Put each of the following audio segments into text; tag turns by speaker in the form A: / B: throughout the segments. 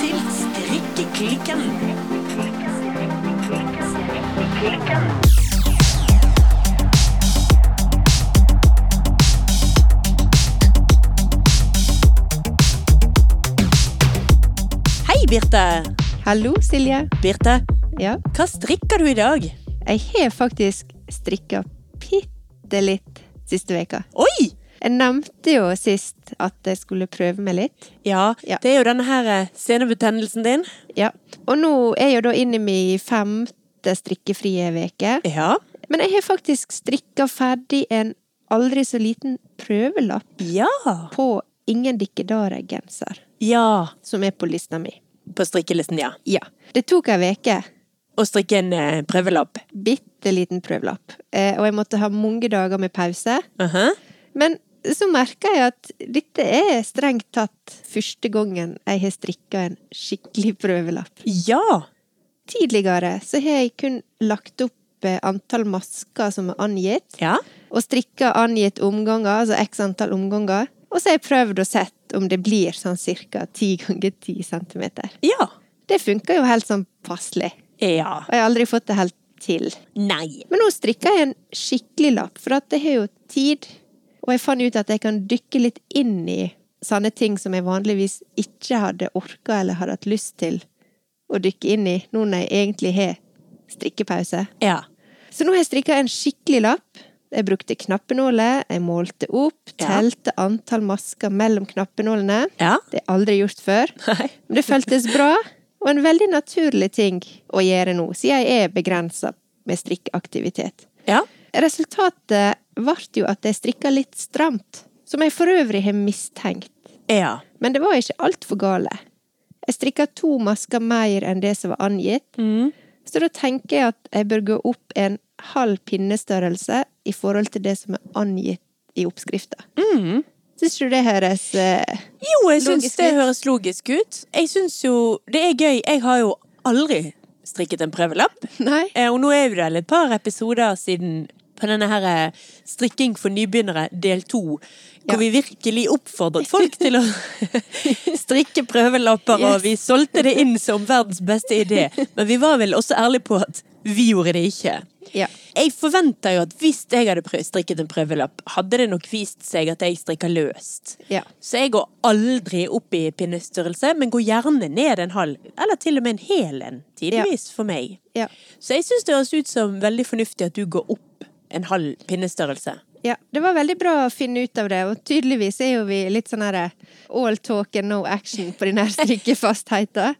A: til Strikkeklikken. Hei, Birte.
B: Hallo, Silje.
A: Birte,
B: Ja,
A: hva strikker du i dag?
B: jeg har faktisk strikka bitte litt siste veka.
A: Oi!
B: Jeg nevnte jo sist at jeg skulle prøve meg litt.
A: Ja,
B: Ja.
A: det er jo denne her eh, senebetennelsen din.
B: Ja. Og nå er jeg jo da inne i min femte strikkefrie veke.
A: Ja.
B: Men jeg har faktisk strikka ferdig en aldri så liten prøvelapp
A: Ja.
B: på Ingen dikkedare-genser,
A: Ja.
B: som er på lista mi.
A: På strikkelisten, ja.
B: Ja. Det tok ei veke.
A: Å strikke en eh, prøvelapp.
B: Bitte liten prøvelapp. Eh, og jeg måtte ha mange dager med pause.
A: Aha.
B: Men så merker jeg at dette er strengt tatt første gangen jeg har strikka en skikkelig prøvelapp.
A: Ja.
B: Tidligere så har jeg kun lagt opp eh, antall masker som er angitt,
A: Ja.
B: og strikka angitt omganger, altså x antall omganger. Og så har jeg prøvd og sett om det blir sånn ca. 10 ganger 10 cm.
A: Ja.
B: Det funker jo helt sånn passelig,
A: Ja.
B: og jeg har aldri fått det helt til.
A: Nei.
B: Men nå strikker jeg en skikkelig lapp, for at jeg har jo tid. Og jeg fant ut at jeg kan dykke litt inn i sånne ting som jeg vanligvis ikke hadde orka eller hadde hatt lyst til å dykke inn i, nå når jeg egentlig har strikkepause.
A: Ja.
B: Så nå har jeg strikka en skikkelig lapp. Jeg brukte knappenåler, jeg målte opp,
A: Ja.
B: telte antall masker mellom knappenålene.
A: Ja.
B: Det har jeg aldri gjort før.
A: Nei.
B: Men det føltes bra, og en veldig naturlig ting å gjøre nå, siden jeg er begrensa med strikkaktivitet.
A: Ja.
B: Resultatet ble jo at jeg strikka litt stramt, som jeg for øvrig har mistenkt.
A: Ja.
B: Men det var ikke altfor gale. Jeg strikka to masker mer enn det som var angitt,
A: Mm.
B: så da tenker jeg at jeg bør gå opp en halv pinnestørrelse i forhold til det som er angitt i oppskrifta.
A: Mm.
B: Syns du det høres eh,
A: Jo, jeg syns
B: Logisk
A: det
B: ut.
A: høres logisk ut. Jeg syns jo det er gøy. Jeg har jo aldri strikket en prøvelapp.
B: Nei?
A: Eh, Og nå er jo det vel et par episoder siden på denne her eh, Strikking for nybegynnere del to, hvor
B: Ja.
A: vi virkelig oppfordret folk til å strikke prøvelapper, og
B: Yes.
A: vi solgte det inn som verdens beste idé. Men vi var vel også ærlige på at vi gjorde det ikke.
B: Ja.
A: Jeg forventer jo at hvis jeg hadde prø- strikket en prøvelapp, hadde det nok vist seg at jeg strikker løst.
B: Ja.
A: Så jeg går aldri opp i pinnestørrelse, men går gjerne ned en halv, eller til og med en hel en, tidvis, for meg.
B: Ja.
A: Så jeg syns det høres ut som veldig fornuftig at du går opp en halv pinnestørrelse.
B: Ja, det var veldig bra å finne ut av det, og tydeligvis er jo vi litt sånn her all talk and no action på den her strikkefastheten.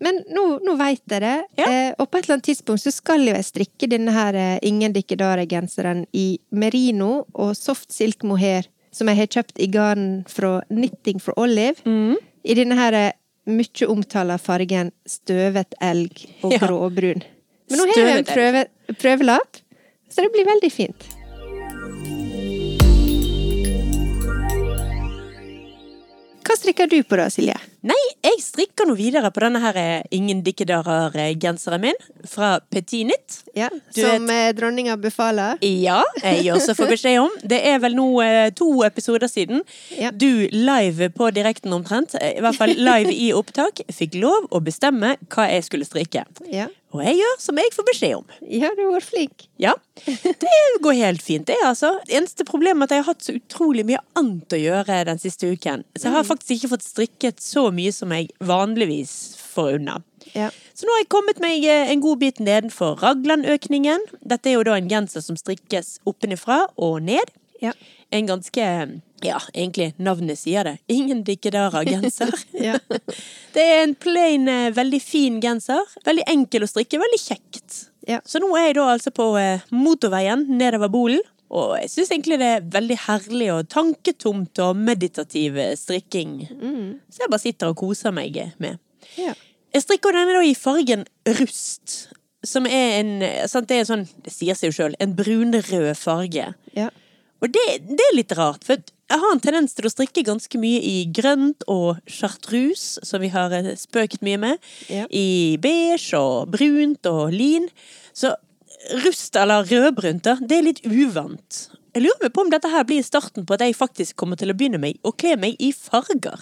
B: Men nå, nå veit jeg det,
A: Ja.
B: eh, og på et eller annet tidspunkt så skal jo jeg strikke denne her eh, Ingen Dikkedare-genseren i merino og soft silk mohair, som jeg har kjøpt i garn fra Knitting for Olive,
A: Mm.
B: i denne her eh, mye omtala fargen støvet elg og
A: Ja.
B: gråbrun. Men nå har jeg jo en
A: Støvet elg.
B: prøve, prøvelapp, så det blir veldig fint. Hva strikker du på da, Silje?
A: Nei, jeg strikker nå videre på denne her eh, Ingen dikkedarer-genseren min fra Petit Nytt. Du
B: Som eh, dronninga befaler?
A: Ja, jeg også får beskjed om. Det er vel nå eh, to episoder siden.
B: Ja.
A: Du live på direkten omtrent, eh, i hvert fall live i opptak, fikk lov å bestemme hva jeg skulle strikke.
B: Ja.
A: Og jeg gjør som jeg får beskjed om.
B: ja, du har vært flink.
A: Ja, det går helt fint det, altså. Eneste problemet er at jeg har hatt så utrolig mye annet å gjøre den siste uken. Så
B: Mm.
A: jeg har faktisk ikke fått strikket så mye som jeg vanligvis får unna.
B: Ja.
A: Så nå har jeg kommet meg eh, en god bit nedenfor raglandøkningen. Dette er jo da en genser som strikkes oppenifra og ned.
B: Ja.
A: En ganske, eh, ja, egentlig navnet sier det. Ingen dikkedara-genser.
B: Ja.
A: Det er en plain, eh, veldig fin genser. Veldig enkel å strikke, veldig kjekt.
B: Ja.
A: Så nå er jeg da altså på eh, motorveien nedover Bolen. Og jeg syns egentlig det er veldig herlig og tanketomt og meditativ eh, strikking. Så jeg bare sitter og koser meg eh, med.
B: Ja.
A: Jeg strikker denne da i fargen rust. Som er en eh, sant, Det er en sånn, det sier seg jo sjøl, en brunrød farge.
B: Ja.
A: Og det, det er litt rart, for jeg har en tendens til å strikke ganske mye i grønt og chartreuse, som vi har eh, spøket mye med.
B: Ja.
A: I beige og brunt og lin. Så rust eller rødbrunt, da, det er litt uvant. Jeg lurer meg på om dette her blir starten på at jeg faktisk kommer til å begynne meg å kle meg i farger.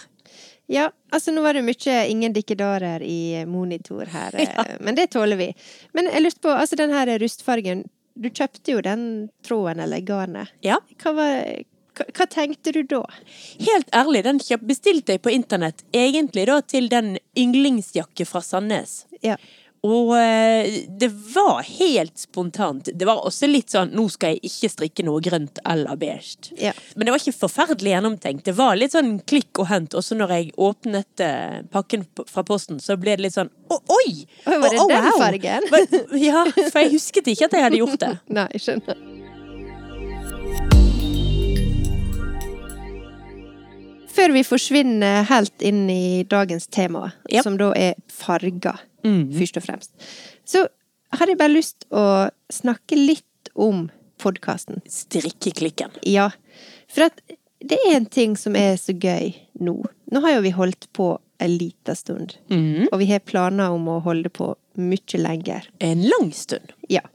B: Ja, altså nå var det mye ingen dikkedarer i monitor her, eh, men det tåler vi. Men jeg lurte på, altså den her rustfargen, du kjøpte jo den tråden eller garnet.
A: Ja.
B: Hva, var, hva, hva tenkte du da?
A: Helt ærlig, den kjøp- bestilte jeg på internett, egentlig da til den yndlingsjakke fra Sandnes.
B: Ja.
A: Og eh, det var helt spontant. Det var også litt sånn nå skal jeg ikke strikke noe grønt eller beige.
B: Ja.
A: Men det var ikke forferdelig gjennomtenkt. Det var litt sånn klikk og hent. Også når jeg åpnet eh, pakken p- fra posten, så ble det litt sånn å, oi!
B: Oi, var det
A: Å, å,
B: den
A: wow!»
B: fargen?
A: Men- Ja, for jeg husket ikke at jeg hadde gjort det.
B: Nei, jeg skjønner. Før vi forsvinner helt inn i dagens tema,
A: Ja.
B: som da er farger, først og fremst, så har jeg bare lyst å snakke litt om podkasten.
A: Strikkeklikken.
B: Ja, for at det er en ting som er så gøy nå. Nå har jo vi holdt på en liten stund, og vi har planer om å holde på mye lenger.
A: En lang stund.
B: Ja.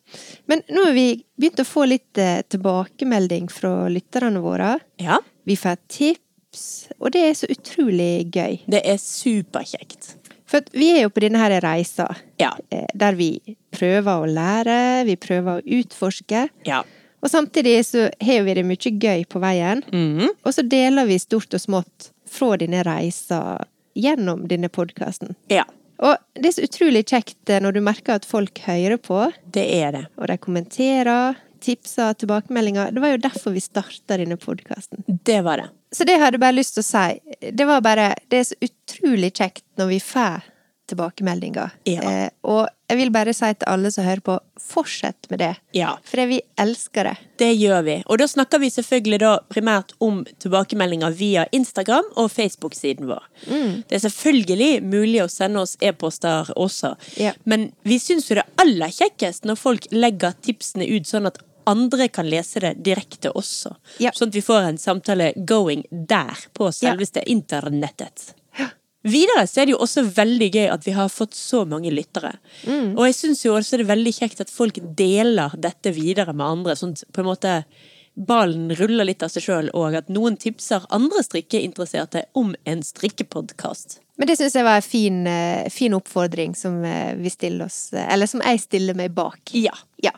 B: Men nå har vi begynt å få litt eh, tilbakemelding fra lytterne våre.
A: Ja.
B: Vi får tips, og det er så utrolig gøy.
A: Det er superkjekt.
B: For at vi er jo på denne her reisa
A: Ja.
B: eh, der vi prøver å lære, vi prøver å utforske.
A: Ja.
B: Og samtidig så har vi det mye gøy på veien. Og så deler vi stort og smått fra denne reisa gjennom denne podkasten.
A: Ja.
B: Og det er så utrolig kjekt eh, når du merker at folk hører på.
A: Det er det.
B: og de kommenterer, tipser, tilbakemeldinger. Det var jo derfor vi starta denne podkasten.
A: Det var det.
B: Så det hadde jeg bare lyst til å si. Det var bare Det er så utrolig kjekt når vi får tilbakemeldinger.
A: Ja.
B: Eh, og jeg vil bare si til alle som hører på, fortsett med det.
A: Ja.
B: For vi elsker det.
A: Det gjør vi. Og da snakker vi selvfølgelig da primært om tilbakemeldinger via Instagram og Facebook-siden vår. Det er selvfølgelig mulig å sende oss e-poster også,
B: Ja.
A: men vi syns jo det er aller kjekkest når folk legger tipsene ut sånn at andre kan lese det direkte også.
B: Ja.
A: Sånn at vi får en samtale going der, på selveste internettet. Videre så er det jo også veldig gøy at vi har fått så mange lyttere. Og jeg syns jo også det er veldig kjekt at folk deler dette videre med andre, sånn at på en måte ballen ruller litt av seg sjøl, og at noen tipser andre strikkeinteresserte om en strikkepodkast.
B: Men det syns jeg var en fin, eh, fin oppfordring som eh, vi stiller oss eh, Eller som jeg stiller meg bak.
A: Ja.
B: Ja.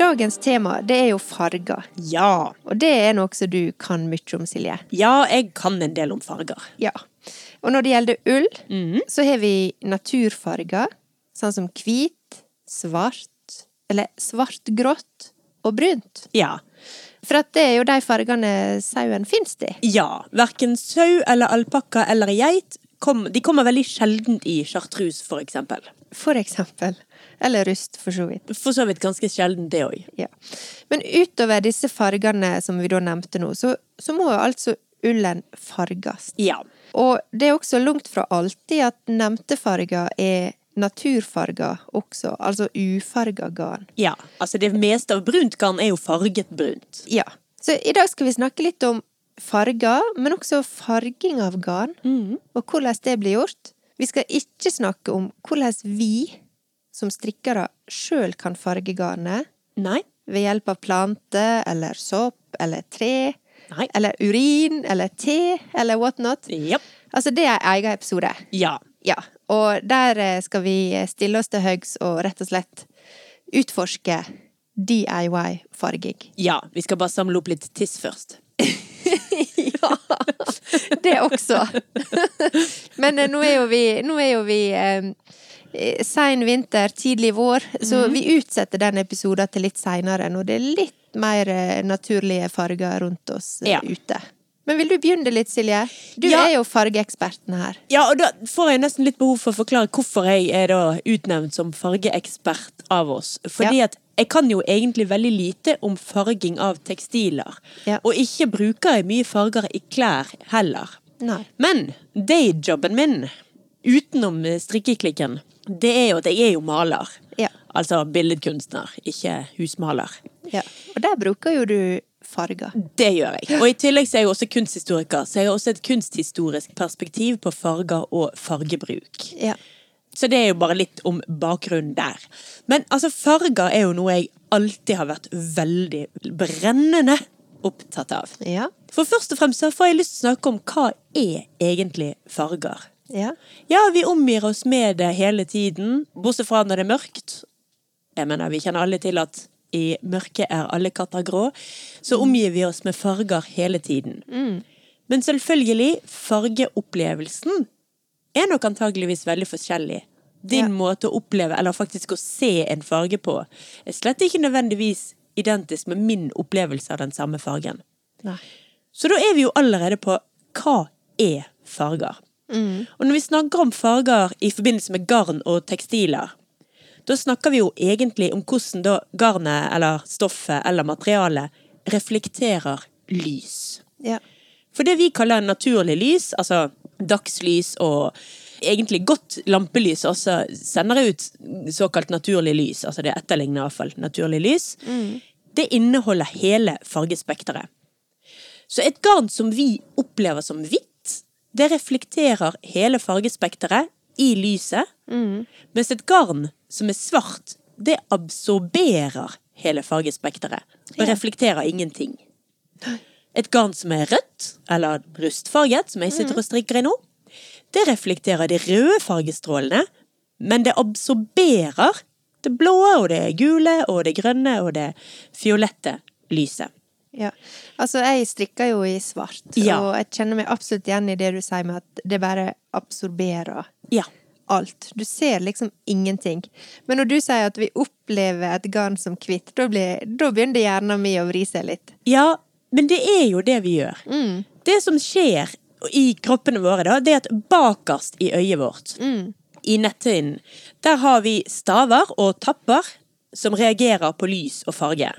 B: Dagens tema, det er jo farger.
A: Ja.
B: Og det er noe som du kan mye om, Silje.
A: Ja, jeg kan en del om farger.
B: Ja. Og når det gjelder ull, så har vi naturfarger, sånn som hvit, svart, eller svart-grått og brunt.
A: Ja.
B: For at det er jo de fargene sauen finnes i.
A: Ja. Verken sau eller alpakka eller geit kom, De kommer veldig sjelden i chartreuse, for eksempel.
B: For eksempel. Eller rust, for så vidt.
A: For så vidt ganske sjelden, det òg.
B: Ja. Men utover disse fargene som vi da nevnte nå, så, så må jo altså ullen farges.
A: Ja.
B: Og det er også langt fra alltid at nevnte farger er naturfarger også, altså ufarga garn.
A: Ja, altså det meste av brunt garn er jo farget brunt.
B: Ja. Så i dag skal vi snakke litt om farger, men også farging av garn, og hvordan det blir gjort. Vi skal ikke snakke om hvordan vi som strikkere sjøl kan farge garnet,
A: Nei.
B: ved hjelp av planter eller sopp eller tre.
A: Nei.
B: Eller urin eller te eller what not.
A: Ja.
B: Altså, det er en egen episode.
A: Ja.
B: Ja. Og der eh, skal vi stille oss til høgs og rett og slett utforske DIY-farging.
A: ja. Vi skal bare samle opp litt tiss først.
B: Ja! Det også. Men eh, nå er jo vi, nå er jo vi eh, eh, Sein vinter, tidlig vår, så
A: Mhm.
B: vi utsetter den episoden til litt seinere, når det er litt mer eh, naturlige farger rundt oss eh,
A: Ja.
B: ute. Men vil du begynne litt, Silje? Du
A: Ja.
B: er jo fargeeksperten her.
A: Ja, og da får jeg nesten litt behov for å forklare hvorfor jeg er da utnevnt som fargeekspert av oss. Fordi
B: Ja.
A: at jeg kan jo egentlig veldig lite om farging av tekstiler.
B: Ja.
A: Og ikke bruker jeg mye farger i klær heller.
B: Nei.
A: Men dayjobben min, utenom eh, strikkeklikken, det er jo at jeg er jo maler.
B: Ja.
A: Altså billedkunstner, ikke husmaler.
B: Ja. Og der bruker jo du farger.
A: Det gjør jeg. Og i tillegg så er jeg også kunsthistoriker, så jeg har også et kunsthistorisk perspektiv på farger og fargebruk.
B: Ja.
A: Så det er jo bare litt om bakgrunnen der. Men altså, farger er jo noe jeg alltid har vært veldig brennende opptatt av.
B: Ja.
A: For først og fremst så får jeg lyst til å snakke om hva er egentlig farger.
B: Ja.
A: Ja, vi omgir oss med det hele tiden, bortsett fra når det er mørkt. Jeg mener, vi kjenner alle til at i mørket er alle katter grå, så omgir vi oss med farger hele tiden. Men selvfølgelig, fargeopplevelsen er nok antageligvis veldig forskjellig. Din
B: Ja.
A: måte å oppleve, eller faktisk å se en farge på, er slett ikke nødvendigvis identisk med min opplevelse av den samme fargen.
B: Nei.
A: Så da er vi jo allerede på hva er farger? Og når vi snakker om farger i forbindelse med garn og tekstiler, da snakker vi jo egentlig om hvordan da garnet eller stoffet eller materialet reflekterer lys.
B: Ja.
A: For det vi kaller naturlig lys, altså dagslys og egentlig godt lampelys også, sender ut såkalt naturlig lys, altså det etterligner iallfall naturlig lys, det inneholder hele fargespekteret. Så et garn som vi opplever som hvitt, det reflekterer hele fargespekteret i lyset, mens et garn som er svart, det absorberer hele fargespekteret og reflekterer ingenting. Et garn som er rødt, eller rustfarget, som jeg sitter og strikker i nå, det reflekterer de røde fargestrålene, men det absorberer det blå og det gule og det grønne og det fiolette lyset.
B: Ja. Altså, jeg strikker jo i svart,
A: Ja.
B: og jeg kjenner meg absolutt igjen i det du sier med at det bare absorberer
A: Ja.
B: alt. Du ser liksom ingenting. Men når du sier at vi opplever et garn som hvitt, da, blir- da begynner hjernen min å vri seg litt.
A: ja, men det er jo det vi gjør. Det som skjer i kroppene våre, da, det er at bakerst i øyet vårt, i netthinnen, der har vi staver og tapper som reagerer på lys og farge.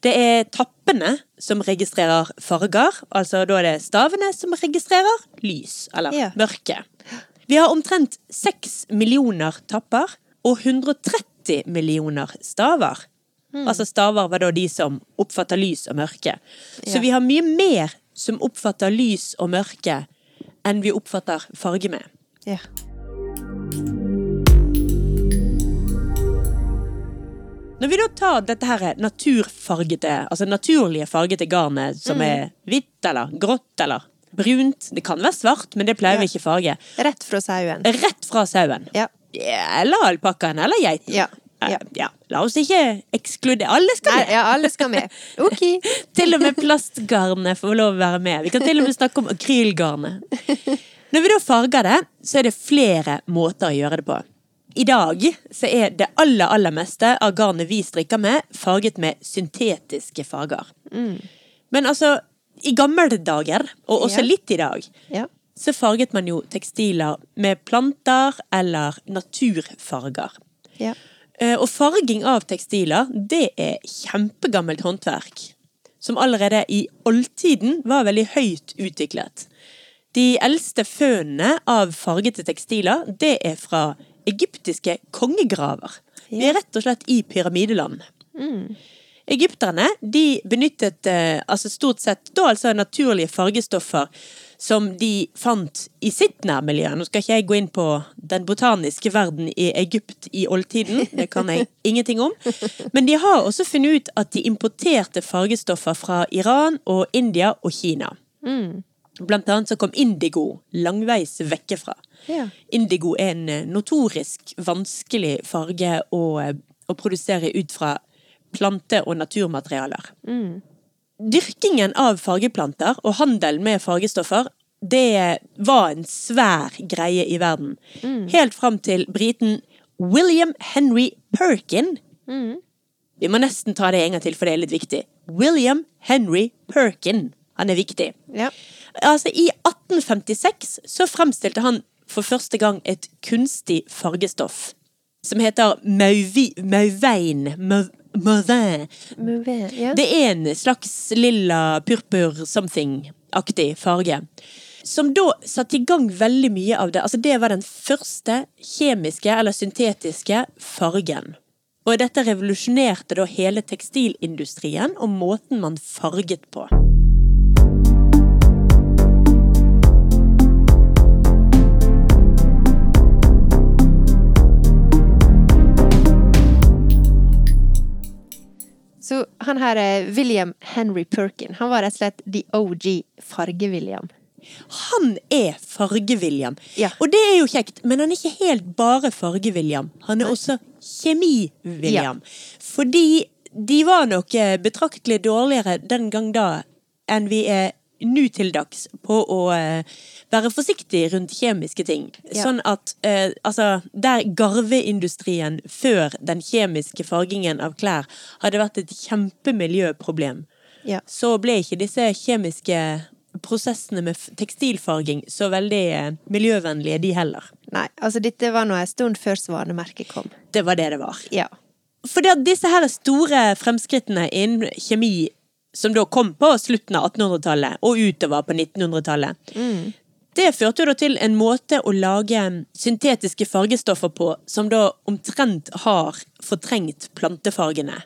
A: Det er tappene som registrerer farger, altså da er det stavene som registrerer lys, eller
B: Ja.
A: mørke. Vi har omtrent 6 millioner tapper og 130 millioner staver.
B: Hmm.
A: Altså staver var da de som oppfatter lys og mørke. Så
B: Ja.
A: vi har mye mer som oppfatter lys og mørke enn vi oppfatter farge med.
B: Ja.
A: Når vi da tar dette her naturfargete, altså naturlige fargete garnet
B: Hmm.
A: som er hvitt eller grått eller brunt, det kan være svart, men det pleier vi
B: Ja.
A: ikke farge,
B: Rett fra sauen.
A: rett fra sauen.
B: Ja.
A: Eller alpakkaen eller geiten.
B: Ja.
A: Eh,
B: Ja.
A: ja. La oss ikke ekskludere. Alle skal
B: Nei,
A: med.
B: ja, alle skal med. OK.
A: Til og med plastgarnet får lov å være med. Vi kan til og med snakke om akrylgarnet. Når vi da farger det, så er det flere måter å gjøre det på. I dag så er det aller, aller meste av garnet vi strikker med, farget med syntetiske farger.
B: Mm.
A: Men altså, i gamle dager, og også
B: Ja.
A: litt i dag,
B: Ja.
A: så farget man jo tekstiler med planter eller naturfarger.
B: Ja.
A: Eh, Og farging av tekstiler, det er kjempegammelt håndverk. Som allerede i oldtiden var veldig høyt utviklet. De eldste fønene av fargete tekstiler, det er fra egyptiske kongegraver. Vi er rett og slett i pyramideland. Egypterne de benyttet eh, altså stort sett da altså naturlige fargestoffer som de fant i sitt nærmiljø. Nå skal ikke jeg gå inn på den botaniske verden i Egypt i oldtiden, det kan jeg ingenting om. Men de har også funnet ut at de importerte fargestoffer fra Iran og India og Kina. Blant annet så kom indigo langveis vekke fra.
B: Ja.
A: Indigo er en eh, notorisk vanskelig farge å, eh, å produsere ut fra plante- og naturmaterialer. Dyrkingen av fargeplanter og handel med fargestoffer det var en svær greie i verden. Helt fram til briten William Henry Perkin. Vi må nesten ta det en gang til, for det er litt viktig. William Henry Perkin. Han er viktig.
B: Ja.
A: Altså, I 1856 så fremstilte han for første gang et kunstig fargestoff som heter mauvi, mauvein. mau- Mauvin.
B: Move. Ja.
A: Det er en slags lilla purpur-something-aktig farge. Som da satte i gang veldig mye av det. Altså Det var den første kjemiske eller syntetiske fargen. Og dette revolusjonerte da hele tekstilindustrien og måten man farget på.
B: Så han her er William Henry Perkin. Han var rett og slett the OG Farge-William.
A: Han er Farge-William.
B: Ja.
A: Og det er jo kjekt, men han er ikke helt bare Farge-William. Han er også Kjemi-William. Fordi de var nok eh, betraktelig dårligere den gang da enn vi er nå til dags på å eh, være forsiktig rundt kjemiske ting.
B: Ja.
A: Sånn at eh, altså, der garveindustrien før den kjemiske fargingen av klær hadde vært et kjempemiljøproblem,
B: Ja.
A: så ble ikke disse kjemiske prosessene med f- tekstilfarging så veldig eh, miljøvennlige, de heller.
B: Nei, altså dette var nå en stund før Svanemerket kom.
A: Det var det det var.
B: Ja.
A: For det at disse her store fremskrittene innen kjemi, som da kom på slutten av 1800-tallet og utover på 1900-tallet, det førte jo da til en måte å lage syntetiske fargestoffer på som da omtrent har fortrengt plantefargene.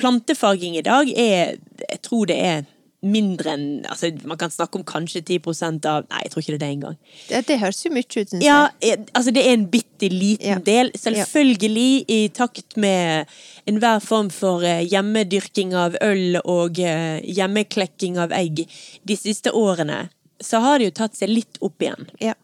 A: Plantefarging i dag er, jeg tror det er mindre enn, altså man kan snakke om kanskje 10% av, nei jeg tror ikke det er det engang.
B: Det, det høres jo mye ut, syns
A: Ja, eh, altså det er en bitte liten
B: Ja.
A: del. Selvfølgelig i takt med enhver form for eh, hjemmedyrking av øl og eh, hjemmeklekking av egg de siste årene, så har det jo tatt seg litt opp igjen.
B: jeg. Ja.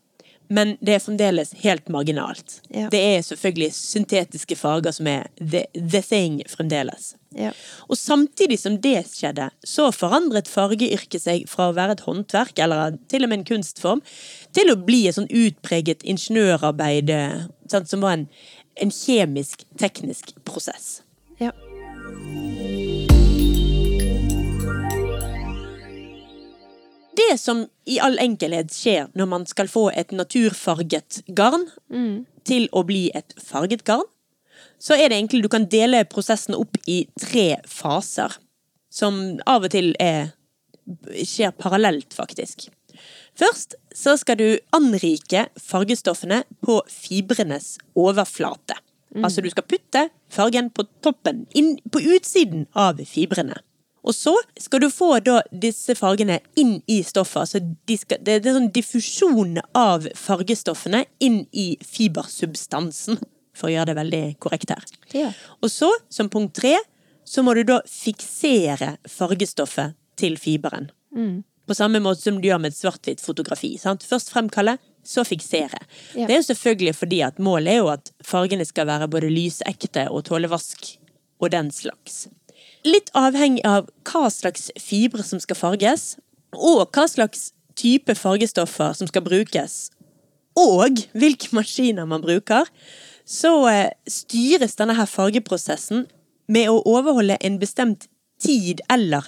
A: Men det er fremdeles helt marginalt.
B: Ja.
A: Det er selvfølgelig syntetiske farger som er the, the thing fremdeles.
B: Ja.
A: Og samtidig som det skjedde, så forandret fargeyrket seg fra å være et håndverk, eller til og med en kunstform, til å bli et sånn utpreget ingeniørarbeid, eh, sant, som var en, en kjemisk, teknisk prosess.
B: ja.
A: Det som i all enkelhet skjer når man skal få et naturfarget garn til å bli et farget garn, så er det egentlig du kan dele prosessen opp i tre faser, som av og til er, skjer parallelt, faktisk. Først så skal du anrike fargestoffene på fibrenes overflate. Altså du skal putte fargen på toppen, inn på utsiden av fibrene. Og så skal du få da disse fargene inn i stoffet. Altså de skal, det, det er sånn diffusjon av fargestoffene inn i fibersubstansen, for å gjøre det veldig korrekt her.
B: Ja.
A: Og så, som punkt tre, så må du da fiksere fargestoffet til fiberen.
B: Mm.
A: På samme måte som du gjør med et svart-hvitt fotografi. Sant? Først fremkalle, så fiksere.
B: Ja.
A: Det er jo selvfølgelig fordi at målet er jo at fargene skal være både lysekte og tåle vask og den slags. Litt avhengig av hva slags fibre som skal farges, og hva slags type fargestoffer som skal brukes, og hvilke maskiner man bruker, så eh, styres denne her fargeprosessen med å overholde en bestemt tid eller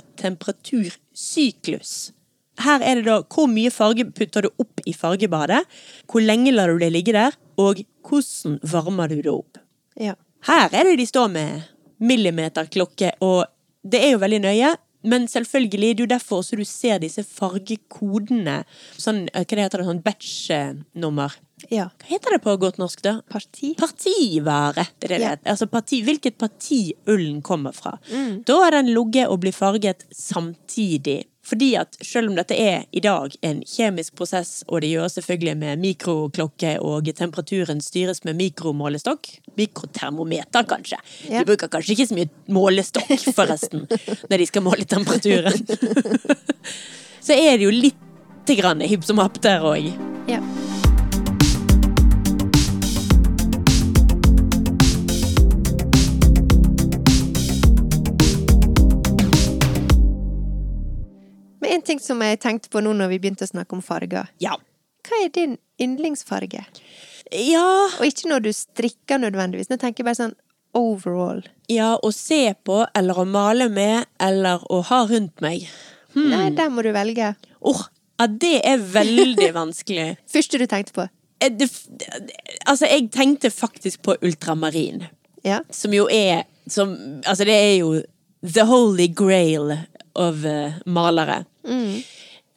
A: temperatursyklus. Her er det da hvor mye farge putter du opp i fargebadet, hvor lenge lar du det ligge der, og hvordan varmer du det opp.
B: ja.
A: Her er det de står med millimeterklokke, og det er jo veldig nøye. Men selvfølgelig det er det jo derfor også du ser disse fargekodene. Sånn, eh, hva det heter det, sånn batch-nummer.
B: ja.
A: Hva heter det på godt norsk, da?
B: Parti.
A: Partivare. Det er det det
B: Ja.
A: heter. Altså parti, hvilket parti ullen kommer fra.
B: Mm.
A: Da har den ligget og blitt farget samtidig. Fordi at selv om dette er i dag en kjemisk prosess, og det gjøres selvfølgelig med mikroklokke, og temperaturen styres med mikromålestokk Mikrotermometer, kanskje.
B: Ja.
A: De bruker kanskje ikke så mye målestokk, forresten, når de skal måle temperaturen. så er det jo lite grann hipp som happ der òg.
B: Ja. Men en ting som jeg tenkte på nå når vi begynte å snakke om farger.
A: Ja.
B: Hva er din yndlingsfarge?
A: Ja
B: Og ikke når du strikker nødvendigvis. Nå tenker jeg bare sånn overall.
A: Ja, å se på, eller å male med, eller å ha rundt meg.
B: Nei, der må du velge.
A: Åh, ja, det er veldig vanskelig.
B: Første du tenkte på.
A: Eh, Det, f- det, altså, jeg tenkte faktisk på ultramarin,
B: Ja.
A: som jo er som, Altså, det er jo the holy grail of eh, malere.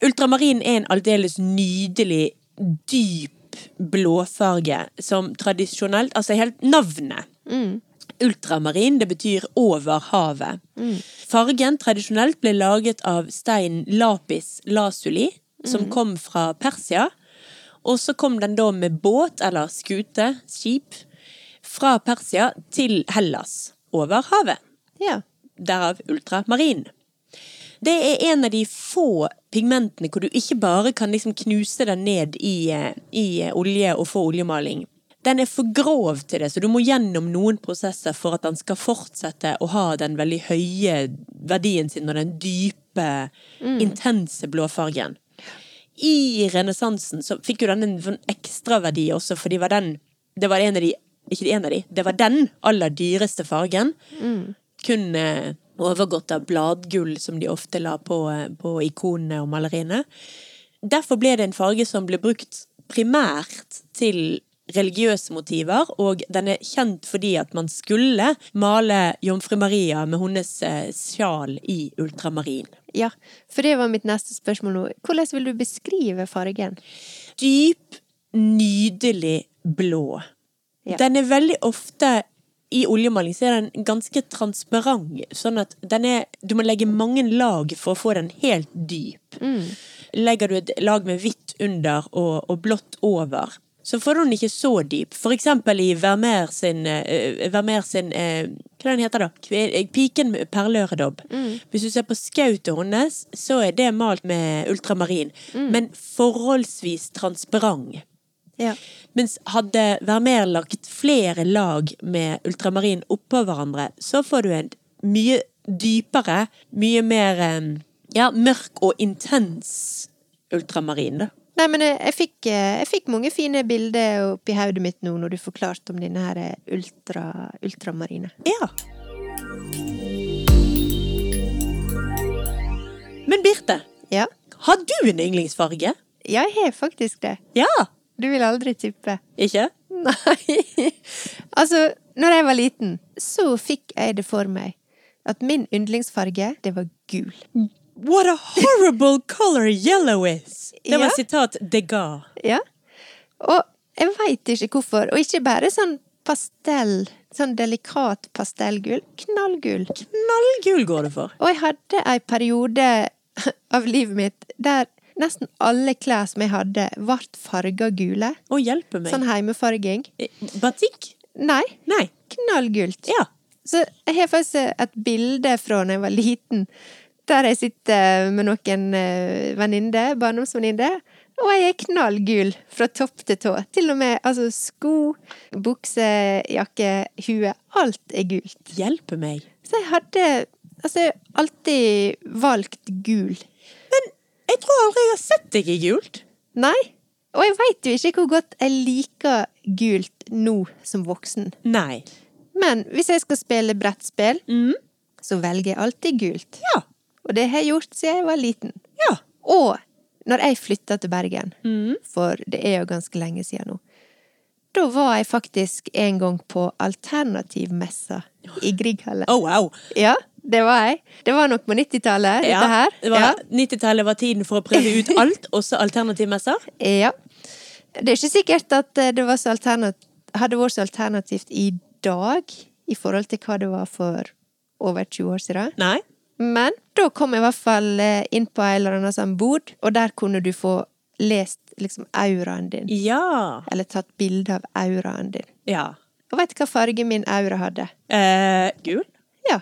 A: Ultramarin er en aldeles nydelig, dyp blåfarge som tradisjonelt Altså helt navnet. Ultramarin, det betyr over havet. Fargen tradisjonelt ble laget av steinen lapis lazuli, som kom fra Persia. Og så kom den da med båt, eller skute, skip, fra Persia til Hellas, over havet.
B: Ja.
A: derav ultramarin. Det er en av de få pigmentene hvor du ikke bare kan liksom knuse den ned i, eh, i eh, olje og få oljemaling. Den er for grov til det, så du må gjennom noen prosesser for at den skal fortsette å ha den veldig høye verdien sin og den dype, intense blåfargen. I renessansen så fikk jo den en sånn ekstra verdi også, fordi var den Det var en av de Ikke en av de, det var den aller dyreste fargen. Kun eh, overgått av bladgull, som de ofte la på, eh, på ikonene og maleriene. Derfor ble det en farge som ble brukt primært til religiøse motiver, og den er kjent fordi at man skulle male Jomfru Maria med hennes eh, sjal i ultramarin.
B: Ja, for det var mitt neste spørsmål nå. Hvordan vil du beskrive fargen?
A: dyp, nydelig blå.
B: Ja.
A: Den er veldig ofte i oljemaling så er den ganske transparent, sånn at den er Du må legge mange lag for å få den helt dyp. Legger du et lag med hvitt under og, og blått over, så får du den ikke så dyp. For eksempel i Vermeer sin, eh, Vermeer sin eh, Hva er den heter da? Kve- eh, Piken med perleøredobb. Hvis du ser på skautet hennes, så er det malt med ultramarin, men forholdsvis transparent.
B: Ja.
A: Mens hadde Vermeer lagt flere lag med ultramarin oppå hverandre, så får du en mye dypere, mye mer eh, ja, mørk og intens ultramarin. da.
B: Nei, men jeg, jeg, fikk, eh, jeg fikk mange fine bilder oppi hodet mitt nå når du forklarte om denne her eh, ultra, ultramarine.
A: Ja. Men Birte,
B: Ja.
A: har du en yndlingsfarge?
B: ja, jeg har faktisk det.
A: Ja.
B: Du vil aldri tippe.
A: Ikke?
B: Nei. altså, når jeg var liten, så fikk jeg det for meg at min yndlingsfarge, det var gul.
A: What a horrible color yellow is! Det var
B: Ja.
A: sitat Degas.
B: Ja. Og jeg veit ikke hvorfor. Og ikke bare sånn pastell. Sånn delikat pastellgul. Knallgul.
A: Knallgul går det for.
B: Og jeg hadde ei periode av livet mitt der nesten alle klær som jeg hadde, ble farga gule.
A: Å, hjelpe meg.
B: Sånn heimefarging.
A: Eh, Batikk?
B: Nei,
A: Nei.
B: knallgult.
A: Ja.
B: Så jeg har faktisk et bilde fra da jeg var liten, der jeg sitter med noen eh, venninner, barndomsvenninner, og jeg er knallgul fra topp til tå. Til og med altså, sko, bukse, jakke, hue. Alt er gult.
A: Hjelpe meg.
B: Så jeg hadde altså, jeg har alltid valgt gul.
A: Men jeg tror aldri jeg har sett deg i gult.
B: Nei. Og jeg veit jo ikke hvor godt jeg liker gult nå som voksen.
A: Nei.
B: Men hvis jeg skal spille brettspill, så velger jeg alltid gult.
A: Mm. Ja.
B: Og det har jeg gjort siden jeg var liten.
A: Ja. Mm.
B: Og når jeg flytta til Bergen, for det er jo ganske lenge siden nå, da var jeg faktisk en gang på alternativmessa i Grieghallen.
A: Oh, wow.
B: Ja, det var jeg. Det var nok på 90-tallet,
A: Ja,
B: dette her.
A: det var-
B: Ja.
A: 90-tallet var tiden for å prøve ut alt, også alternativmesser.
B: Ja. Det er ikke sikkert at eh, det var så alternat hadde vært så alternativt i dag i forhold til hva det var for over 20 år siden.
A: Nei.
B: Men da kom jeg i hvert fall eh, inn på en eller annen sånn bod, og der kunne du få lest liksom auraen din.
A: Ja.
B: Eller tatt bilde av auraen din.
A: Ja.
B: Og vet du hva farge min aura hadde?
A: Eh, gul?
B: Ja,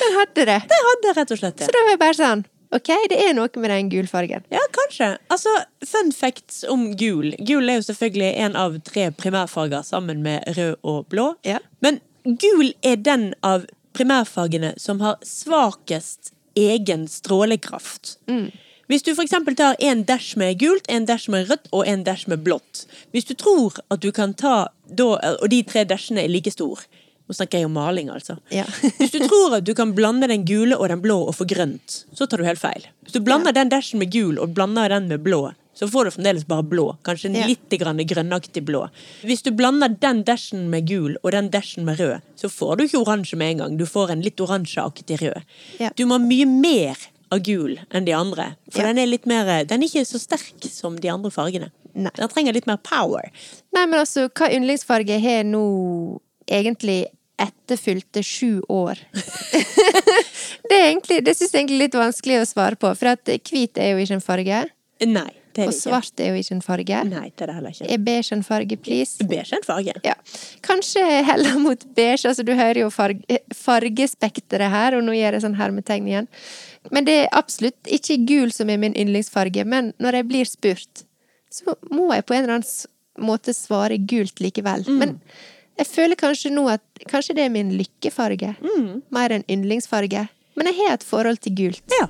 B: den hadde det.
A: Jeg hadde rett og slett det.
B: Så da var jeg bare sånn OK, det er noe med den gulfargen.
A: Ja, kanskje. Altså, fun facts om gul. Gul er jo selvfølgelig en av tre primærfarger sammen med rød og blå.
B: Ja.
A: Men gul er den av primærfargene som har svakest egen strålekraft.
B: Mm.
A: Hvis du f.eks. tar en dash med gult, en dash med rødt og en dash med blått Hvis du tror at du kan ta da, Og de tre dashene er like stor Nå snakker jeg om maling, altså.
B: Ja.
A: Hvis du tror at du kan blande den gule og den blå og få grønt, så tar du helt feil. Hvis du blander den dashen med gul og blander den med blå, så får du fremdeles bare blå. Kanskje en
B: Ja.
A: litt grann grønnaktig blå. Hvis du blander den dashen med gul og den dashen med rød, så får du ikke oransje med en gang. Du får en litt oransjeaktig rød.
B: Ja.
A: Du må ha mye mer av gul enn de andre. For
B: Ja.
A: den er litt mer Den er ikke så sterk som de andre fargene.
B: Nei.
A: Den trenger litt mer power.
B: Nei, men altså, hva yndlingsfarge jeg har nå egentlig etter fylte sju år? det er egentlig, det syns jeg egentlig er litt vanskelig å svare på, for at hvit er jo ikke en farge.
A: Nei, Det er
B: Og
A: det ikke.
B: svart er jo ikke en farge.
A: Nei, det er det heller ikke.
B: Er beige en farge, please?
A: Beige er en farge.
B: Ja. Kanskje heller mot beige. Altså, du hører jo farge, fargespekteret her, og nå gjør jeg sånn hermetegn igjen. Men det er absolutt ikke gul som er min yndlingsfarge, men når jeg blir spurt, så må jeg på en eller annen s- måte svare gult likevel. Men jeg føler kanskje nå at kanskje det er min lykkefarge, mer enn yndlingsfarge. Men jeg har et forhold til gult.
A: Ja.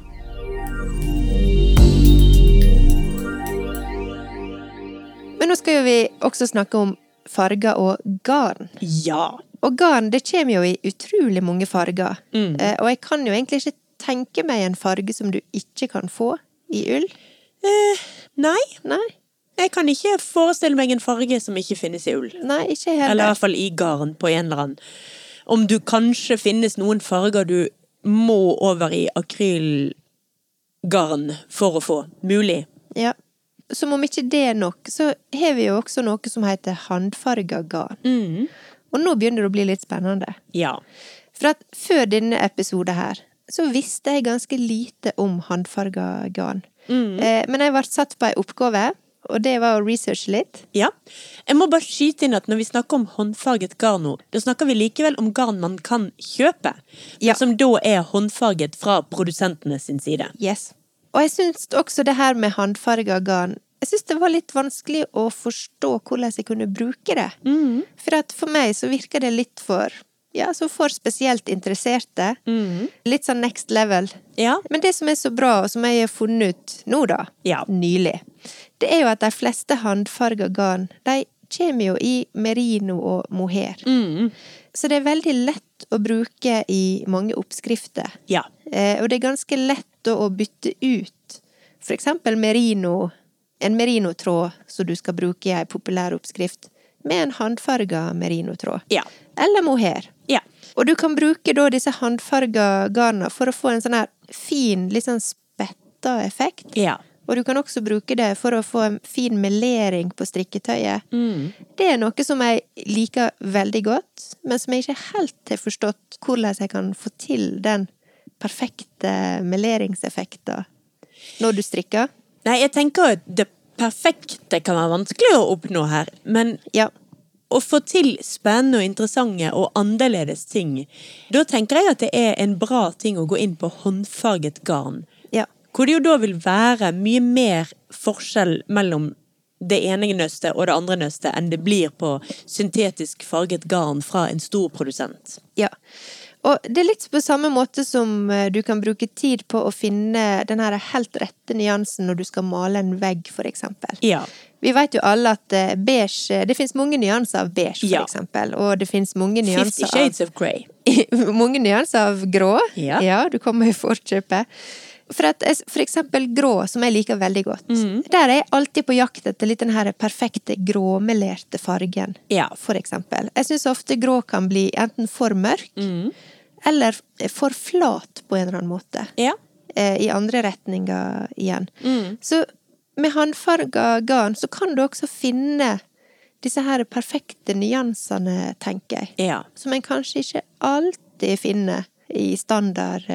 B: Men nå skal jo vi også snakke om farger og garn.
A: ja.
B: Og garn det kommer jo i utrolig mange farger. Eh, og jeg kan jo egentlig ikke tenke meg en farge som du ikke kan få i ull.
A: Eh, nei,
B: Nei,
A: jeg kan ikke forestille meg en farge som ikke finnes i ull.
B: nei ikke jeg
A: Eller i hvert
B: heller.
A: fall i garn på en eller annen. Om du kanskje finnes noen farger du må over i akrylgarn for å få. Mulig.
B: Ja. Som om ikke det er nok, så har vi jo også noe som heter håndfarga garn. Og nå begynner det å bli litt spennende.
A: Ja.
B: For at før denne episoden her, så visste jeg ganske lite om håndfarga garn. Eh, men jeg ble satt på ei oppgave, og det var å researche litt.
A: Ja. Jeg må bare skyte inn at når vi snakker om håndfarget garn nå, da snakker vi likevel om garn man kan kjøpe,
B: Ja.
A: men som da er håndfarget fra produsentene sin side.
B: Yes. Og jeg syns også det her med håndfarga garn Jeg syns det var litt vanskelig å forstå hvordan jeg kunne bruke det. For at for meg så virker det litt for Ja, så for spesielt interesserte. Litt sånn next level.
A: Ja.
B: Men det som er så bra, og som jeg har funnet ut nå, da,
A: Ja.
B: nylig, det er jo at de fleste håndfarga garn, de kommer jo i merino og mohair.
A: Mm.
B: Så det er veldig lett å bruke i mange oppskrifter.
A: Ja.
B: Eh, og det er ganske lett da å bytte ut for eksempel merino, en merinotråd som du skal bruke i ei populær oppskrift, med en håndfarga merinotråd.
A: Ja.
B: Eller mohair.
A: Ja.
B: Og du kan bruke da disse håndfarga garna for å få en sånn her fin, litt sånn spetta effekt.
A: Ja.
B: Og du kan også bruke det for å få en fin melering på strikketøyet. Det er noe som jeg liker veldig godt, men som jeg ikke helt har forstått hvordan jeg kan få til den perfekte meleringseffekten når du strikker.
A: Nei, jeg tenker at det perfekte kan være vanskelig å oppnå her, men
B: Ja.
A: å få til spennende og interessante og annerledes ting, da tenker jeg at det er en bra ting å gå inn på håndfarget garn.
B: ja.
A: Hvor det jo da vil være mye mer forskjell mellom det ene nøstet og det andre nøstet enn det blir på syntetisk farget garn fra en stor produsent.
B: Ja. Og det er litt på samme måte som eh, du kan bruke tid på å finne den her helt rette nyansen når du skal male en vegg, for eksempel.
A: Ja.
B: Vi vet jo alle at eh, beige eh, Det fins mange nyanser av beige, for
A: Ja.
B: eksempel. Og det fins mange
A: Fifty
B: nyanser av
A: Shades of Grey.
B: Mange nyanser av grå.
A: Ja.
B: du kommer i forkjøpet. For, at, jeg- for eksempel grå, som jeg liker veldig godt.
A: Mm.
B: Der er jeg alltid på jakt etter litt den her perfekte gråmelerte fargen.
A: Ja.
B: For eksempel. Jeg syns ofte grå kan bli enten for mørk
A: Mm.
B: eller eh, for flat på en eller annen måte.
A: Ja.
B: Eh, I andre retninger igjen. Så med håndfarga garn så kan du også finne disse her perfekte nyansene, tenker jeg
A: Ja.
B: som en kanskje ikke alltid finner i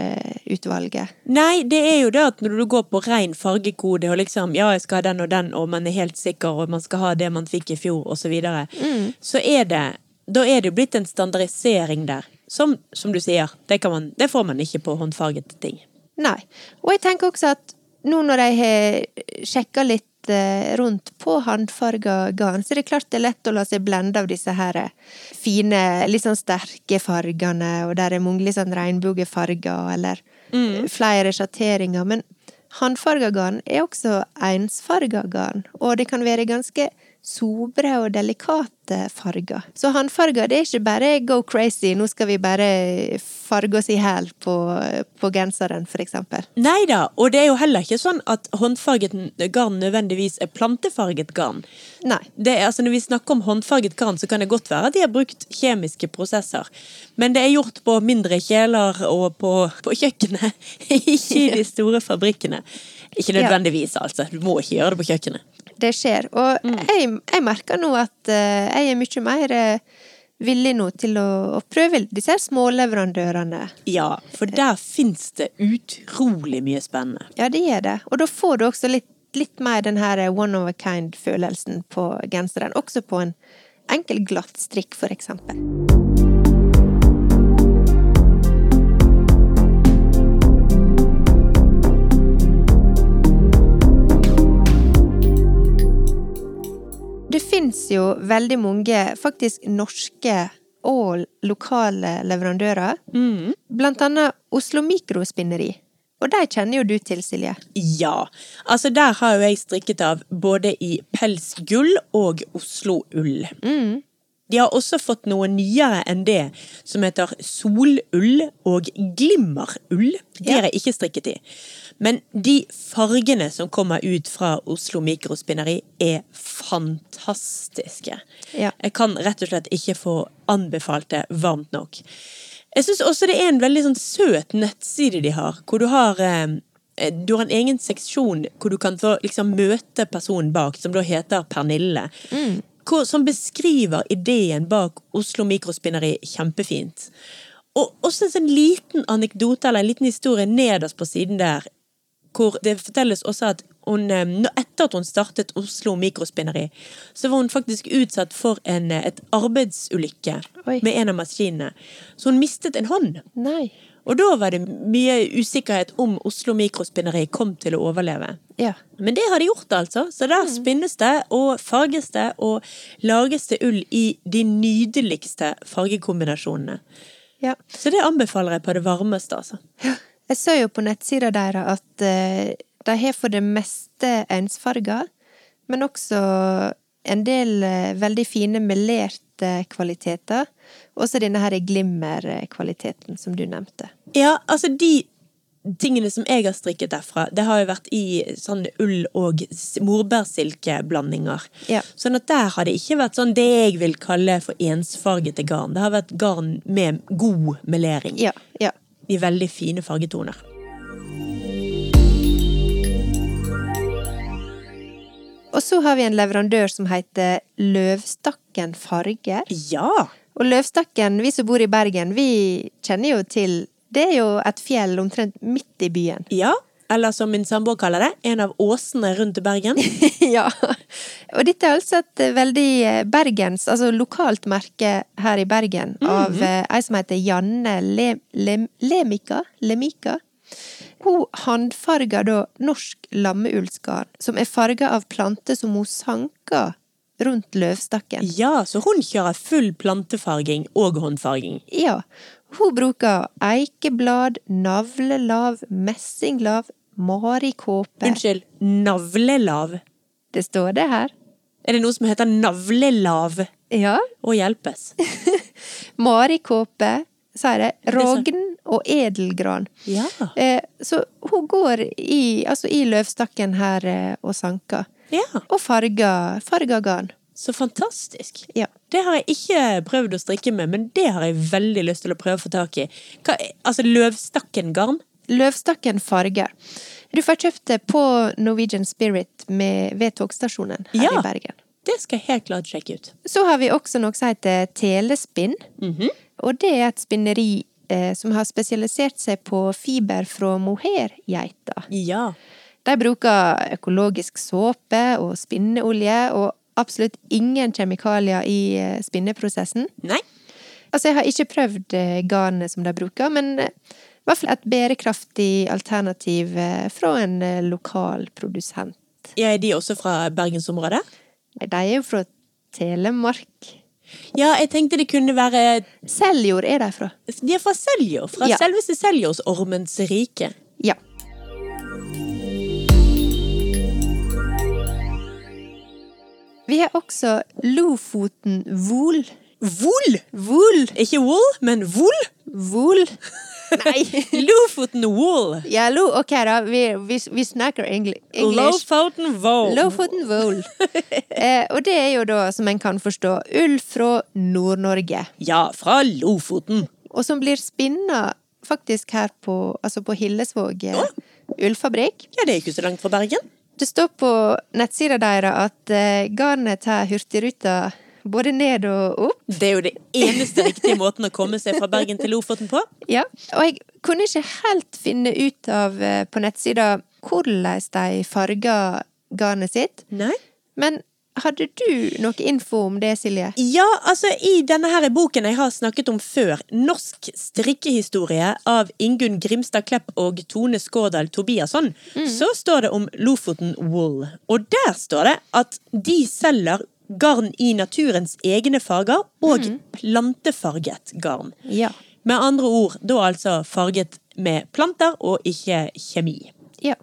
B: standardutvalget.
A: Nei, det er jo det at når du går på ren fargekode og liksom Ja, jeg skal ha den og den, og man er helt sikker, og man skal ha det man fikk i fjor, og så videre. Så er det Da er det jo blitt en standardisering der. Som, som du sier, det, kan man, det får man ikke på håndfargete ting.
B: Nei. Og jeg tenker også at nå når jeg har sjekka litt eh, rundt på håndfarga garn, så er det klart det er lett å la seg blende av disse her eh, fine, litt sånn sterke fargene, og der er mange litt sånn regnbuefarger, eller eh, flere sjatteringer. Men håndfarga garn er også ensfarga garn, og det kan være ganske sobre og delikate farger. Så håndfarger det er ikke bare go crazy, nå skal vi bare farge oss i hæl på, på genseren, for eksempel.
A: Nei da, og det er jo heller ikke sånn at håndfarget garn nødvendigvis er plantefarget garn.
B: Nei.
A: Det er, altså når vi snakker om håndfarget garn, så kan det godt være at de har brukt kjemiske prosesser. Men det er gjort på mindre kjeler og på, på kjøkkenet, ikke i de store fabrikkene. Ikke nødvendigvis, altså. Du må ikke gjøre det på kjøkkenet.
B: Det skjer. Og jeg, jeg merker nå at eh, jeg er mye mer eh, villig nå til å, å prøve disse her småleverandørene.
A: Ja, for der fins det utrolig mye spennende.
B: Ja, det gjør det. Og da får du også litt fått litt mer den her eh, one of a kind-følelsen på genseren. Også på en enkel, glatt strikk, for eksempel. Det fins jo veldig mange faktisk norske og lokale leverandører. Blant annet Oslo Mikrospinneri. Og de kjenner jo du til, Silje.
A: Ja. Altså, der har jo jeg strikket av både i pelsgull og Oslo-ull. De har også fått noe nyere enn det, som heter solull og glimmerull. De har jeg ikke strikket i. Men de fargene som kommer ut fra Oslo Mikrospinneri, er fantastiske.
B: Ja.
A: Jeg kan rett og slett ikke få anbefalt det varmt nok. Jeg syns også det er en veldig sånn søt nettside de har, hvor du har eh, du har en egen seksjon hvor du kan få liksom, møte personen bak, som da heter Pernille. Hvor, som beskriver ideen bak Oslo Mikrospinneri kjempefint. Og også en sånn liten anekdote eller en liten historie nederst på siden der, hvor det fortelles også at hun, eh, nå- etter at hun startet Oslo Mikrospinneri, så var hun faktisk utsatt for en eh, et arbeidsulykke
B: Oi.
A: med en av maskinene. Så hun mistet en hånd.
B: Nei.
A: Og da var det mye usikkerhet om Oslo Mikrospinneri kom til å overleve.
B: Ja.
A: Men det har de gjort, altså. Så der spinnes det, og farges det, og lages det ull i de nydeligste fargekombinasjonene.
B: ja.
A: Så det anbefaler jeg på det varmeste, altså.
B: Jeg så jo på nettsida deres at eh, de har for det meste ensfarger, men også en del eh, veldig fine melerte kvaliteter. Også denne her glimmerkvaliteten som du nevnte.
A: Ja, altså de tingene som jeg har strikket derfra, det har jo vært i sånn ull- og s- morbærsilkeblandinger.
B: Ja.
A: Sånn at der har det ikke vært sånn det jeg vil kalle for ensfargete garn. Det har vært garn med god melering.
B: Ja, ja.
A: I veldig fine fargetoner.
B: Og så har vi en leverandør som heter Løvstakken farger.
A: Ja!
B: Og Løvstakken, vi som bor i Bergen, vi kjenner jo til Det er jo et fjell omtrent midt i byen.
A: Ja, eller som min samboer kaller det, en av åsene rundt i Bergen.
B: ja. Og dette er altså et veldig eh, bergens, altså lokalt merke her i Bergen, av eh, ei som heter Janne Le Lem Lemika. Lemika. Hun handfarger da norsk lammeullsgarn, som er farga av planter som hun sanker rundt løvstakken.
A: Ja, så hun kjører full plantefarging og håndfarging.
B: Ja. Hun bruker eikeblad, navlelav, messinglav, marikåpe.
A: Unnskyld, navlelav.
B: Det står det her.
A: Er det noe som heter navlelav?
B: Ja.
A: Å hjelpes.
B: Marikåpe, sa jeg det.
A: er så-
B: Rogn og edelgran.
A: Ja.
B: Eh, så hun går i, altså i løvstakken her eh, og sanker.
A: Ja,
B: Og farger, farger garn.
A: så fantastisk.
B: Ja.
A: Det har jeg ikke prøvd å strikke med, men det har jeg veldig lyst til å prøve å få tak i. Hva, altså løvstakkengarn?
B: Løvstakken farger. Du får kjøpt det på Norwegian Spirit med, ved togstasjonen her
A: Ja.
B: i Bergen.
A: Det skal jeg helt klart sjekke ut.
B: Så har vi også noe som heter telespinn.
A: Mhm.
B: Og det er et spinneri eh, som har spesialisert seg på fiber fra mohairgeiter.
A: Ja.
B: De bruker økologisk såpe og spinneolje, og absolutt ingen kjemikalier i eh, spinneprosessen.
A: Nei?
B: Altså, jeg har ikke prøvd eh, garnet som de bruker, men eh, i hvert fall et bærekraftig alternativ eh, fra en eh, lokal produsent.
A: Er de også fra bergensområdet?
B: Nei, de er jo fra Telemark.
A: Ja, jeg tenkte det kunne være
B: Seljord er de fra.
A: De er fra Seljord, fra
B: Ja.
A: selveste Seljordsormens rike.
B: Ja. Vi har også Lofoten Vol.
A: Voll!
B: Vol!
A: Ikke wool, men voll!
B: Vol? Nei.
A: Lofoten wool!
B: Ja, lo, ok da, vi, vi, vi snakker engl- engelsk.
A: Lofoten wool.
B: Lofoten Vol. Eh, og det er jo da, som en kan forstå, ull fra Nord-Norge.
A: Ja, fra Lofoten.
B: Og som blir spinna faktisk her på, altså på Hillesvåg eh, ullfabrikk.
A: Ja, det er ikke så langt fra Bergen.
B: Det står på nettsida deres at eh, garnet tar Hurtigruta både ned og opp.
A: Det er jo det eneste riktige måten å komme seg fra Bergen til Lofoten på.
B: Ja. Og jeg kunne ikke helt finne ut av eh, på nettsida hvordan de farger garnet sitt.
A: Nei?
B: Men hadde du noe info om det, Silje?
A: Ja, altså i denne her boken jeg har snakket om før, Norsk strikkehistorie av Ingunn Grimstad Klepp og Tone Skårdal Tobiasson, så står det om Lofoten Wool. Og der står det at de selger garn i naturens egne farger og plantefarget garn.
B: Ja.
A: Med andre ord da altså farget med planter og ikke kjemi.
B: Ja.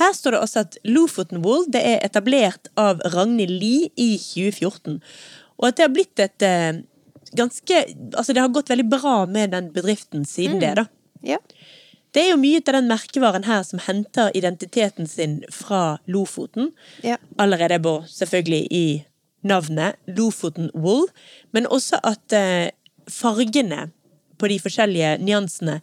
A: Her står det også at Lofoten Wool det er etablert av Ragnhild Lie i 2014. Og at det har blitt et eh, ganske Altså, det har gått veldig bra med den bedriften siden det, da.
B: Ja.
A: Det er jo mye av den merkevaren her som henter identiteten sin fra Lofoten.
B: Ja.
A: Allerede bor selvfølgelig i navnet Lofoten Wool, men også at eh, fargene på de forskjellige nyansene,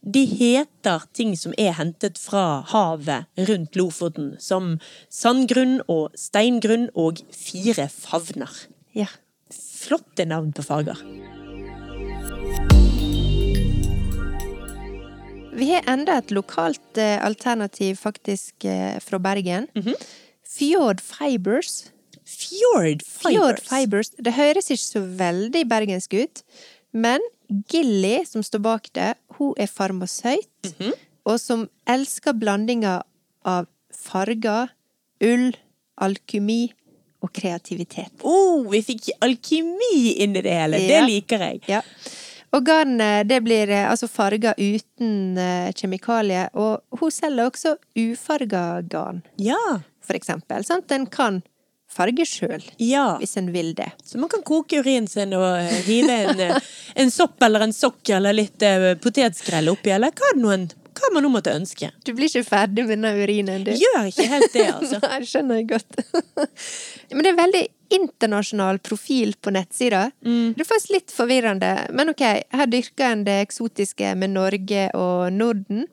A: de heter ting som er hentet fra havet rundt Lofoten, som sandgrunn og steingrunn og fire favner.
B: ja.
A: Flotte navn på farger.
B: Vi har enda et lokalt eh, alternativ, faktisk, eh, fra Bergen. Fjord Fibers.
A: Fjord
B: Fjord
A: Fibers.
B: Fibers. Det høres ikke så veldig bergensk ut, men Gilly, som står bak det, hun er farmasøyt, og som elsker blandinger av farger, ull, alkymi og kreativitet.
A: Oh, vi fikk alkemi inn i det hele. Det
B: Ja.
A: liker jeg.
B: Ja. Og garnet det blir eh, altså farga uten eh, kjemikalier, og hun selger også ufarga garn,
A: Ja.
B: for eksempel. Sant? Den kan farge sjøl,
A: ja.
B: hvis en vil det.
A: Så man kan koke urinen sin og eh, hive en, eh, en sopp eller en sokk eller litt eh, potetskrell oppi, eller hva, det noen, hva man nå måtte ønske.
B: Du blir ikke ferdig med denne urinen, du.
A: Gjør ikke helt det, altså.
B: Nei, det skjønner jeg godt. Men det er en veldig internasjonal profil på nettsida. Det er faktisk litt forvirrende, men ok, her dyrker en det eksotiske med Norge og Norden,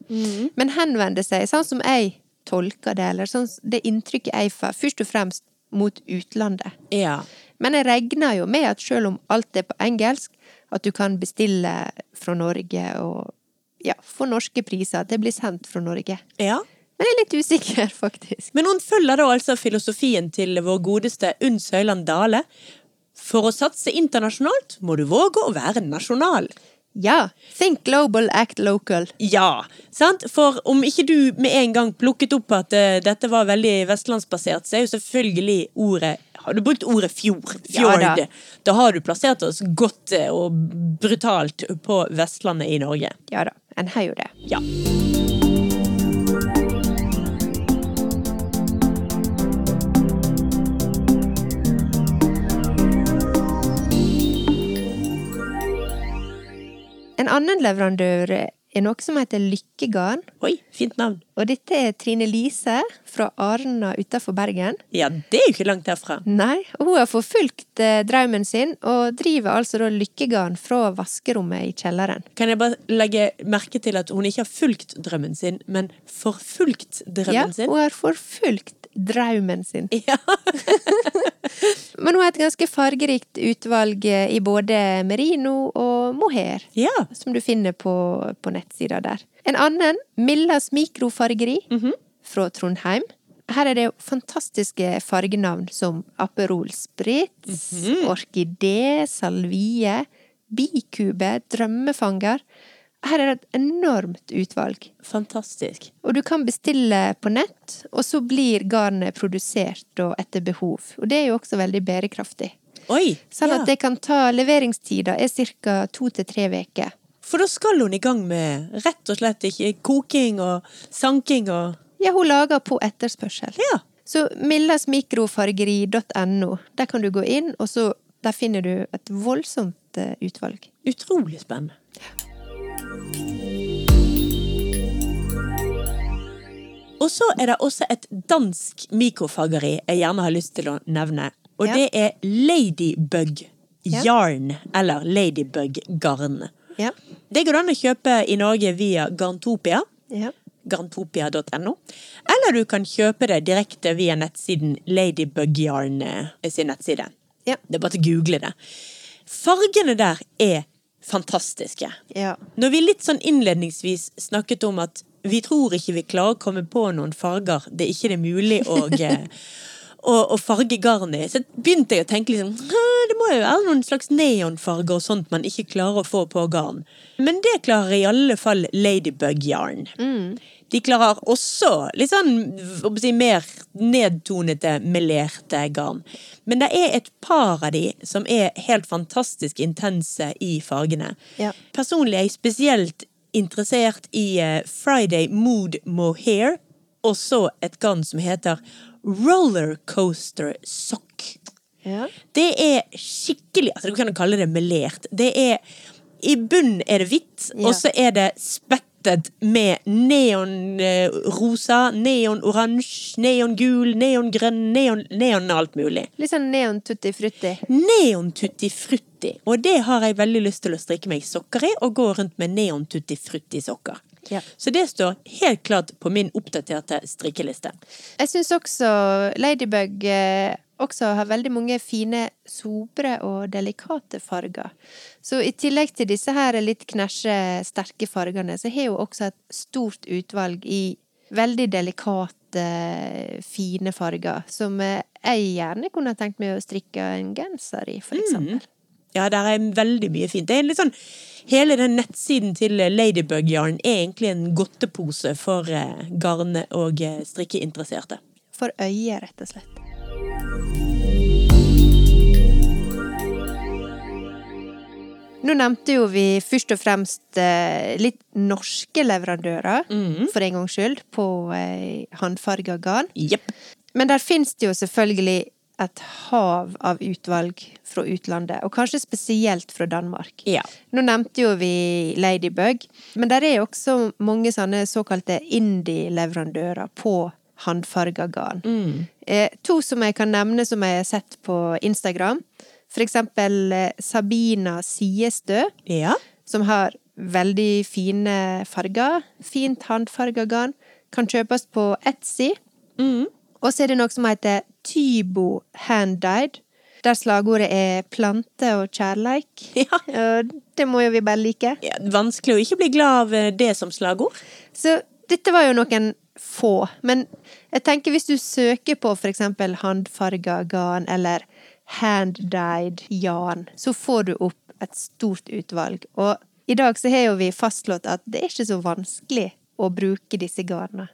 B: men henvender seg, sånn som jeg tolker det, eller sånn s- det inntrykket jeg får, først og fremst mot utlandet.
A: Ja.
B: Men jeg regner jo med at selv om alt er på engelsk, at du kan bestille fra Norge og ja, få norske priser, at det blir sendt fra Norge.
A: ja.
B: Men jeg er litt usikker, faktisk.
A: Men hun følger da altså filosofien til vår godeste Unn Søyland Dale. For å satse internasjonalt må du våge å være nasjonal.
B: Ja. Think global, act local.
A: Ja, sant? For om ikke du med en gang plukket opp at eh, dette var veldig vestlandsbasert, så er jo selvfølgelig ordet Har du brukt ordet fjord?
B: Ja
A: Fjord.
B: da.
A: da. har du plassert oss godt eh, og brutalt på Vestlandet i Norge.
B: Ja da, en har jo det.
A: Ja.
B: En annen leverandør er noe som heter Lykkegarn.
A: Oi, fint navn.
B: Og dette er Trine Lise fra Arna utenfor Bergen.
A: Ja, det er jo ikke langt herfra.
B: Nei, og hun har forfulgt eh, drømmen sin, og driver altså da Lykkegarn fra vaskerommet i kjelleren.
A: Kan jeg bare legge merke til at hun ikke har fulgt drømmen sin, men forfulgt
B: Ja,
A: drømmen sin?
B: hun har forfulgt drømmen sin.
A: Ja.
B: Men hun har et ganske fargerikt utvalg eh, i både merino og mohair.
A: ja.
B: som du finner på, på nettsida der. En annen, Millas mikrofargeri
A: Mhm.
B: fra Trondheim. Her er det fantastiske fargenavn som Aperol Spritz,
A: Mhm.
B: orkidé, salvie, bikube, drømmefanger. Her er det et enormt utvalg.
A: Fantastisk.
B: Og du kan bestille på nett, og så blir garnet produsert da etter behov. Og det er jo også veldig bærekraftig.
A: Oi!
B: Sånn
A: ja.
B: at det kan ta leveringstida er ca. to til tre uker.
A: For da skal hun i gang med rett og slett ikke koking og sanking og
B: Ja, hun lager på etterspørsel.
A: Ja.
B: Så millasmikrofargeri.no, der kan du gå inn, og så der finner du et voldsomt eh, utvalg.
A: Utrolig spennende. Og så er det også et dansk mikrofageri jeg gjerne har lyst til å nevne. Og
B: Ja.
A: det er Ladybug
B: Ja.
A: Yarn, eller Ladybug Garn.
B: Ja.
A: Det går an å kjøpe i Norge via Garntopia.
B: ja.
A: garntopia.no, eller du kan kjøpe det direkte via nettsiden Ladybug Yarn eh, sin nettside.
B: Ja.
A: Det er bare til å google det. Fargene der er fantastiske.
B: Ja.
A: Når vi litt sånn innledningsvis snakket om at Vi tror ikke vi klarer å komme på noen farger. Det er ikke det mulig å eh, å- å farge garnet i. Så begynte jeg å tenke liksom «Hæ, Det må jo være noen slags neonfarger og sånt man ikke klarer å få på garn. Men det klarer i alle fall Ladybug Yarn. De klarer også litt sånn hva skal jeg si, mer nedtonete, melerte garn. Men det er et par av de som er helt fantastisk intense i fargene.
B: Ja.
A: Personlig er jeg spesielt interessert i eh, Friday Mood Mohair, og så et garn som heter Rollercoaster Sock.
B: Ja.
A: Det er skikkelig altså Du kan jo kalle det melert. Det er I bunnen er det hvitt,
B: Ja.
A: og så er det spettet med eh, neonrosa, neonoransje, neongul, neongrønn, neon, neon alt mulig.
B: Litt sånn neon tutti frutti.
A: Neontutti frutti. Og det har jeg veldig lyst til å strikke meg sokker i, og gå rundt med neontutti frutti-sokker.
B: Ja.
A: Så det står helt klart på min oppdaterte strikkeliste.
B: Jeg syns også Ladybug eh, også har veldig mange fine, sobre og delikate farger. Så i tillegg til disse her litt knæsje, sterke fargene, så har hun også et stort utvalg i veldig delikate, eh, fine farger. Som eh, jeg gjerne kunne ha tenkt meg å strikke en genser i, for eksempel.
A: Ja, der er veldig mye fint. Det er litt sånn, Hele den nettsiden til Ladybug Yarn er egentlig en godtepose for eh, garne- og eh, strikkeinteresserte.
B: For øyet, rett og slett. Nå nevnte jo vi først og fremst eh, litt norske leverandører, for en gangs skyld, på eh, håndfarga garn.
A: Jepp.
B: Men der finnes det jo selvfølgelig et hav av utvalg fra utlandet, og kanskje spesielt fra Danmark.
A: Ja.
B: Nå nevnte jo vi Ladybug, men der er jo også mange sånne såkalte indie-leverandører på håndfarga garn. Eh, to som jeg kan nevne som jeg har sett på Instagram. For eksempel eh, Sabina Siestø
A: Ja.
B: som har veldig fine farger. Fint håndfarga garn. Kan kjøpes på Etsy. Og så er det noe som heter Tybo Hand-Dyed, der slagordet er 'plante og kjærleik'.
A: Ja.
B: Og det må jo vi bare like.
A: ja. Vanskelig å ikke bli glad av eh, det som slagord.
B: Så dette var jo noen få, men jeg tenker hvis du søker på for eksempel handfarga garn eller hand-dyed yarn, så får du opp et stort utvalg. Og i dag så har jo vi fastslått at det er ikke så vanskelig å bruke disse garnene.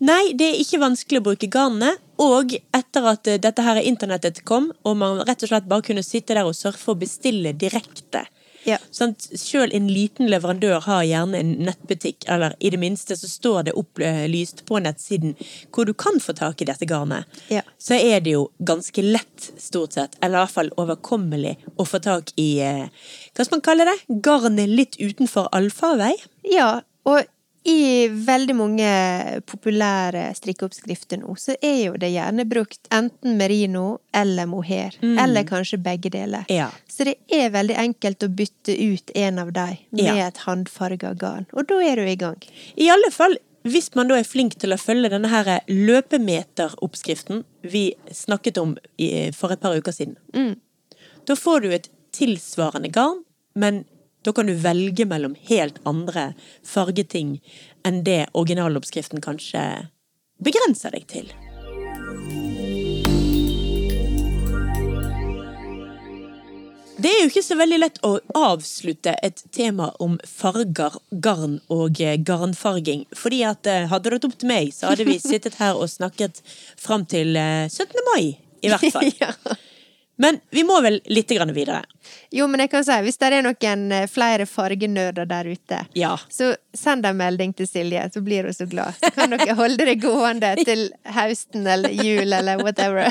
A: Nei, det er ikke vanskelig å bruke garnet. Og etter at eh, dette her internettet kom, og man rett og slett bare kunne sitte der og surfe og bestille direkte
B: Ja.
A: Sant? Selv en liten leverandør har gjerne en nettbutikk, eller i det minste så står det opplyst på nettsiden hvor du kan få tak i dette garnet.
B: Ja.
A: Så er det jo ganske lett, stort sett, eller i hvert fall overkommelig, å få tak i eh, Hva skal man kalle det? Garnet litt utenfor allfarvei?
B: Ja, og i veldig mange populære strikkeoppskrifter nå, så er jo det gjerne brukt enten merino eller mohair, eller kanskje begge deler.
A: Ja.
B: Så det er veldig enkelt å bytte ut en av dem med
A: Ja.
B: et håndfarga garn, og da er du i gang.
A: I alle fall hvis man da er flink til å følge denne her løpemeteroppskriften vi snakket om i, eh, for et par uker siden. Da får du et tilsvarende garn, men da kan du velge mellom helt andre fargeting enn det originaloppskriften kanskje begrenser deg til. Det er jo ikke så veldig lett å avslutte et tema om farger, garn og eh, garnfarging. Fordi at eh, hadde det vært opp til meg, så hadde vi sittet her og snakket fram til eh, 17. mai, i hvert fall.
B: Ja.
A: Men vi må vel litt grann videre.
B: Jo, men jeg kan si, hvis det er noen eh, flere fargenørder der ute,
A: Ja.
B: så send en melding til Silje, så blir hun så glad. Så kan dere holde det gående til høsten eller jul eller whatever.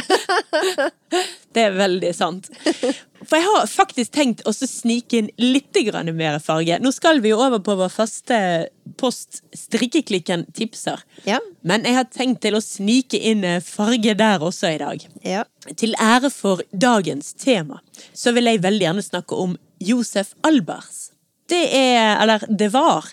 A: Det er veldig sant. For jeg har faktisk tenkt å så snike inn litt grann mer farge. Nå skal vi jo over på vår faste post Strikkeklikken tipser.
B: Ja.
A: Men jeg har tenkt til å snike inn eh, farge der også i dag.
B: Ja.
A: Til ære for dagens tema så vil jeg veldig gjerne snakke om Josef Albers. Det er, eller det var,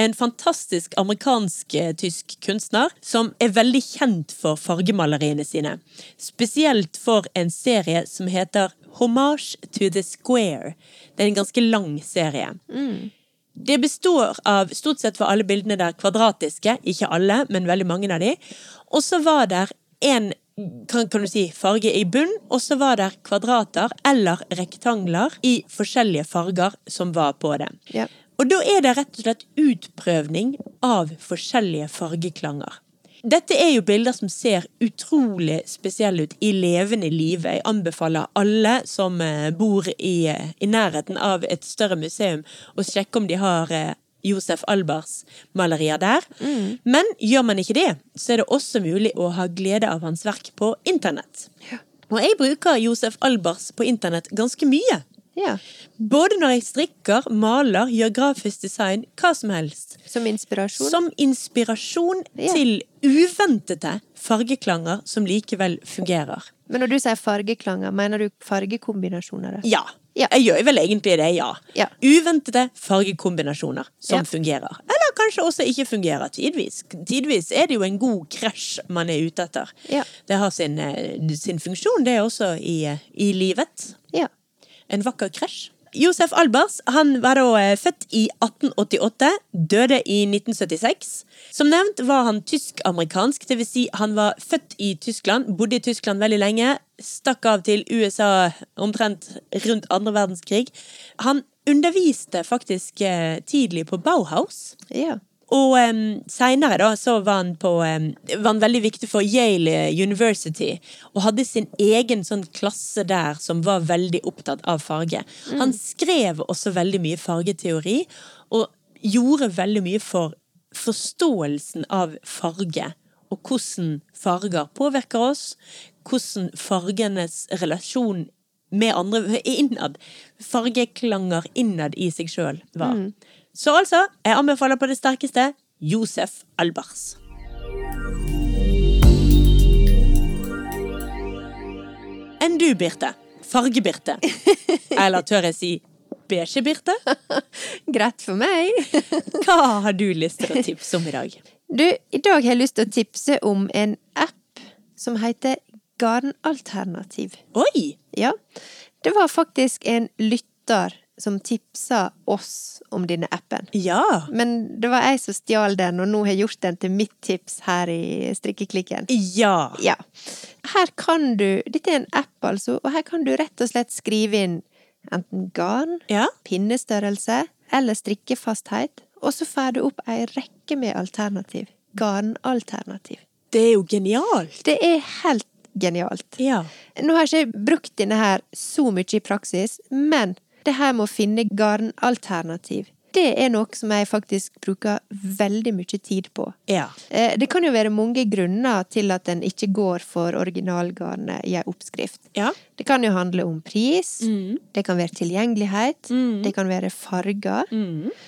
A: en fantastisk amerikansk-tysk kunstner som er veldig kjent for fargemaleriene sine. Spesielt for en serie som heter Homage to the Square. Det er en ganske lang serie. Det består av Stort sett var alle bildene der kvadratiske. Ikke alle, men veldig mange av de. Og så var der en kan, kan du si, farge i bunn, og så var der kvadrater eller rektangler i forskjellige farger som var på det.
B: Ja.
A: Og da er det rett og slett utprøvning av forskjellige fargeklanger. Dette er jo bilder som ser utrolig spesielle ut i levende live. Jeg anbefaler alle som eh, bor i, eh, i nærheten av et større museum, å sjekke om de har eh, Josef Albers malerier der. Men gjør man ikke det, så er det også mulig å ha glede av hans verk på internett. Og jeg bruker Josef Albers på internett ganske mye.
B: Ja.
A: Både når jeg strikker, maler, gjør grafisk design, hva som helst.
B: Som inspirasjon.
A: Som inspirasjon
B: Ja.
A: til uventete fargeklanger som likevel fungerer.
B: Men når du sier fargeklanger, mener du fargekombinasjoner? da?
A: Ja.
B: Ja.
A: Jeg gjør vel egentlig det, ja.
B: Ja.
A: Uventete fargekombinasjoner som
B: Ja.
A: fungerer. Eller kanskje også ikke fungerer tidvis. Tidvis er det jo en god krasj man er ute etter.
B: Ja.
A: Det har sin, eh, sin funksjon, det også, i, eh, i livet.
B: Ja.
A: En vakker krasj. Josef Albers han var da eh, født i 1888, døde i 1976. Som nevnt var han tysk-amerikansk, dvs. Si han var født i Tyskland, bodde i Tyskland veldig lenge, stakk av til USA omtrent rundt andre verdenskrig. Han underviste faktisk eh, tidlig på Bauhaus.
B: ja.
A: Og um, seinere da, så var han på em, Var han veldig viktig for Yale University. Og hadde sin egen sånn klasse der som var veldig opptatt av farge. Han skrev også veldig mye fargeteori, og gjorde veldig mye for forståelsen av farge. Og hvordan farger påvirker oss. Hvordan fargenes relasjon med andre innad. Fargeklanger innad i seg sjøl var. Så altså, jeg anbefaler på det sterkeste Josef Albers. Enn du, Birte. Farge-Birte. Eller tør jeg si Beige-Birte?
B: Greit for meg.
A: Hva har du lyst til å tipse om i dag?
B: Du, i dag har jeg lyst til å tipse om en app som heter Garnalternativ.
A: Oi!
B: Ja. Det var faktisk en lytter som tipsa oss om denne appen.
A: Ja.
B: Men det var jeg som stjal den, og nå har jeg gjort den til mitt tips her i strikkeklikken.
A: Ja.
B: Ja. Her kan du Dette er en app, altså, og her kan du rett og slett skrive inn enten garn,
A: Ja.
B: pinnestørrelse eller strikkefasthet, og så får du opp ei rekke med alternativ. Garnalternativ.
A: Det er jo genialt.
B: Det er helt genialt.
A: Ja.
B: Nå har jeg ikke brukt denne her så mye i praksis, men det her med å finne garnalternativ, det er noe som jeg faktisk bruker veldig mye tid på.
A: Ja.
B: Eh, Det kan jo være mange grunner til at en ikke går for originalgarnet i en oppskrift.
A: Ja.
B: Det kan jo handle om pris, det kan være tilgjengelighet, det kan være farger.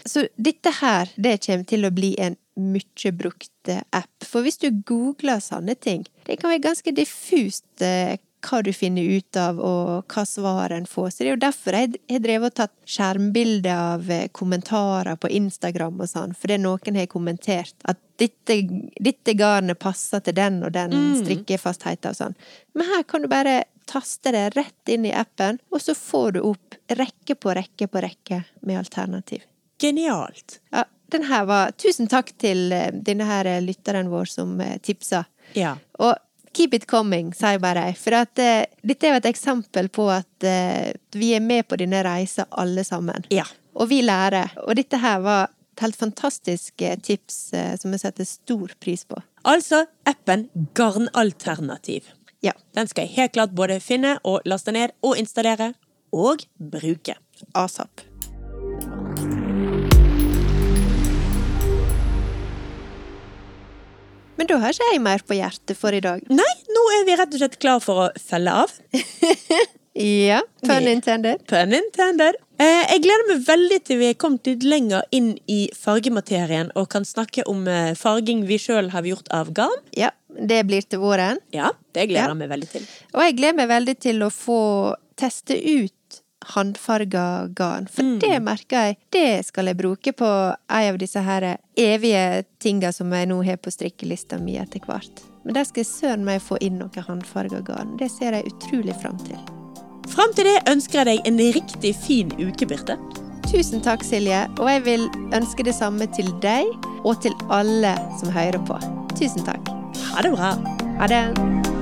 B: Så dette her, det kommer til å bli en mye brukt eh, app. For hvis du googler sånne ting, det kan være ganske diffust eh, hva du finner ut av, og hva svaret en får. Så det er jo derfor jeg har drevet og tatt skjermbilder av eh, kommentarer på Instagram og sånn, fordi noen har kommentert at dette, dette garnet passer til den og den strikkefastheten og sånn. Men her kan du bare taste det rett inn i appen, og så får du opp rekke på rekke på rekke med alternativ.
A: Genialt.
B: Ja, den her var Tusen takk til eh, denne her eh, lytteren vår som eh, tipsa.
A: Ja.
B: Og keep it coming, sier bare jeg. For at, eh, dette er jo et eksempel på at eh, vi er med på denne reisa alle sammen.
A: Ja.
B: Og vi lærer. Og dette her var et helt fantastisk eh, tips eh, som jeg setter stor pris på.
A: Altså appen Garnalternativ.
B: Ja.
A: Den skal jeg helt klart både finne og laste ned og installere og bruke.
B: ASAP. Men da har ikke jeg mer på hjertet for i dag.
A: Nei, nå er vi rett og slett klar for å felle av.
B: Ja, pun
A: Ja.
B: intended.
A: Pun intended. Eh, jeg gleder meg veldig til vi er kommet litt lenger inn i fargematerien og kan snakke om eh, farging vi sjøl har gjort av garn.
B: Ja, det blir til våren.
A: Ja, det
B: Ja.
A: gleder jeg meg veldig til.
B: Og jeg gleder meg veldig til å få teste ut håndfarga garn, for det merker jeg. Det skal jeg bruke på en av disse her evige tinga som jeg nå har på strikkelista mi etter hvert. Men der skal jeg søren meg få inn noe håndfarga garn. Det ser jeg utrolig fram til.
A: Fram til det ønsker jeg deg en riktig fin uke, Birte.
B: Tusen takk, Silje, og jeg vil ønske det samme til deg og til alle som hører på. Tusen takk.
A: Ha det bra.
B: Ha det.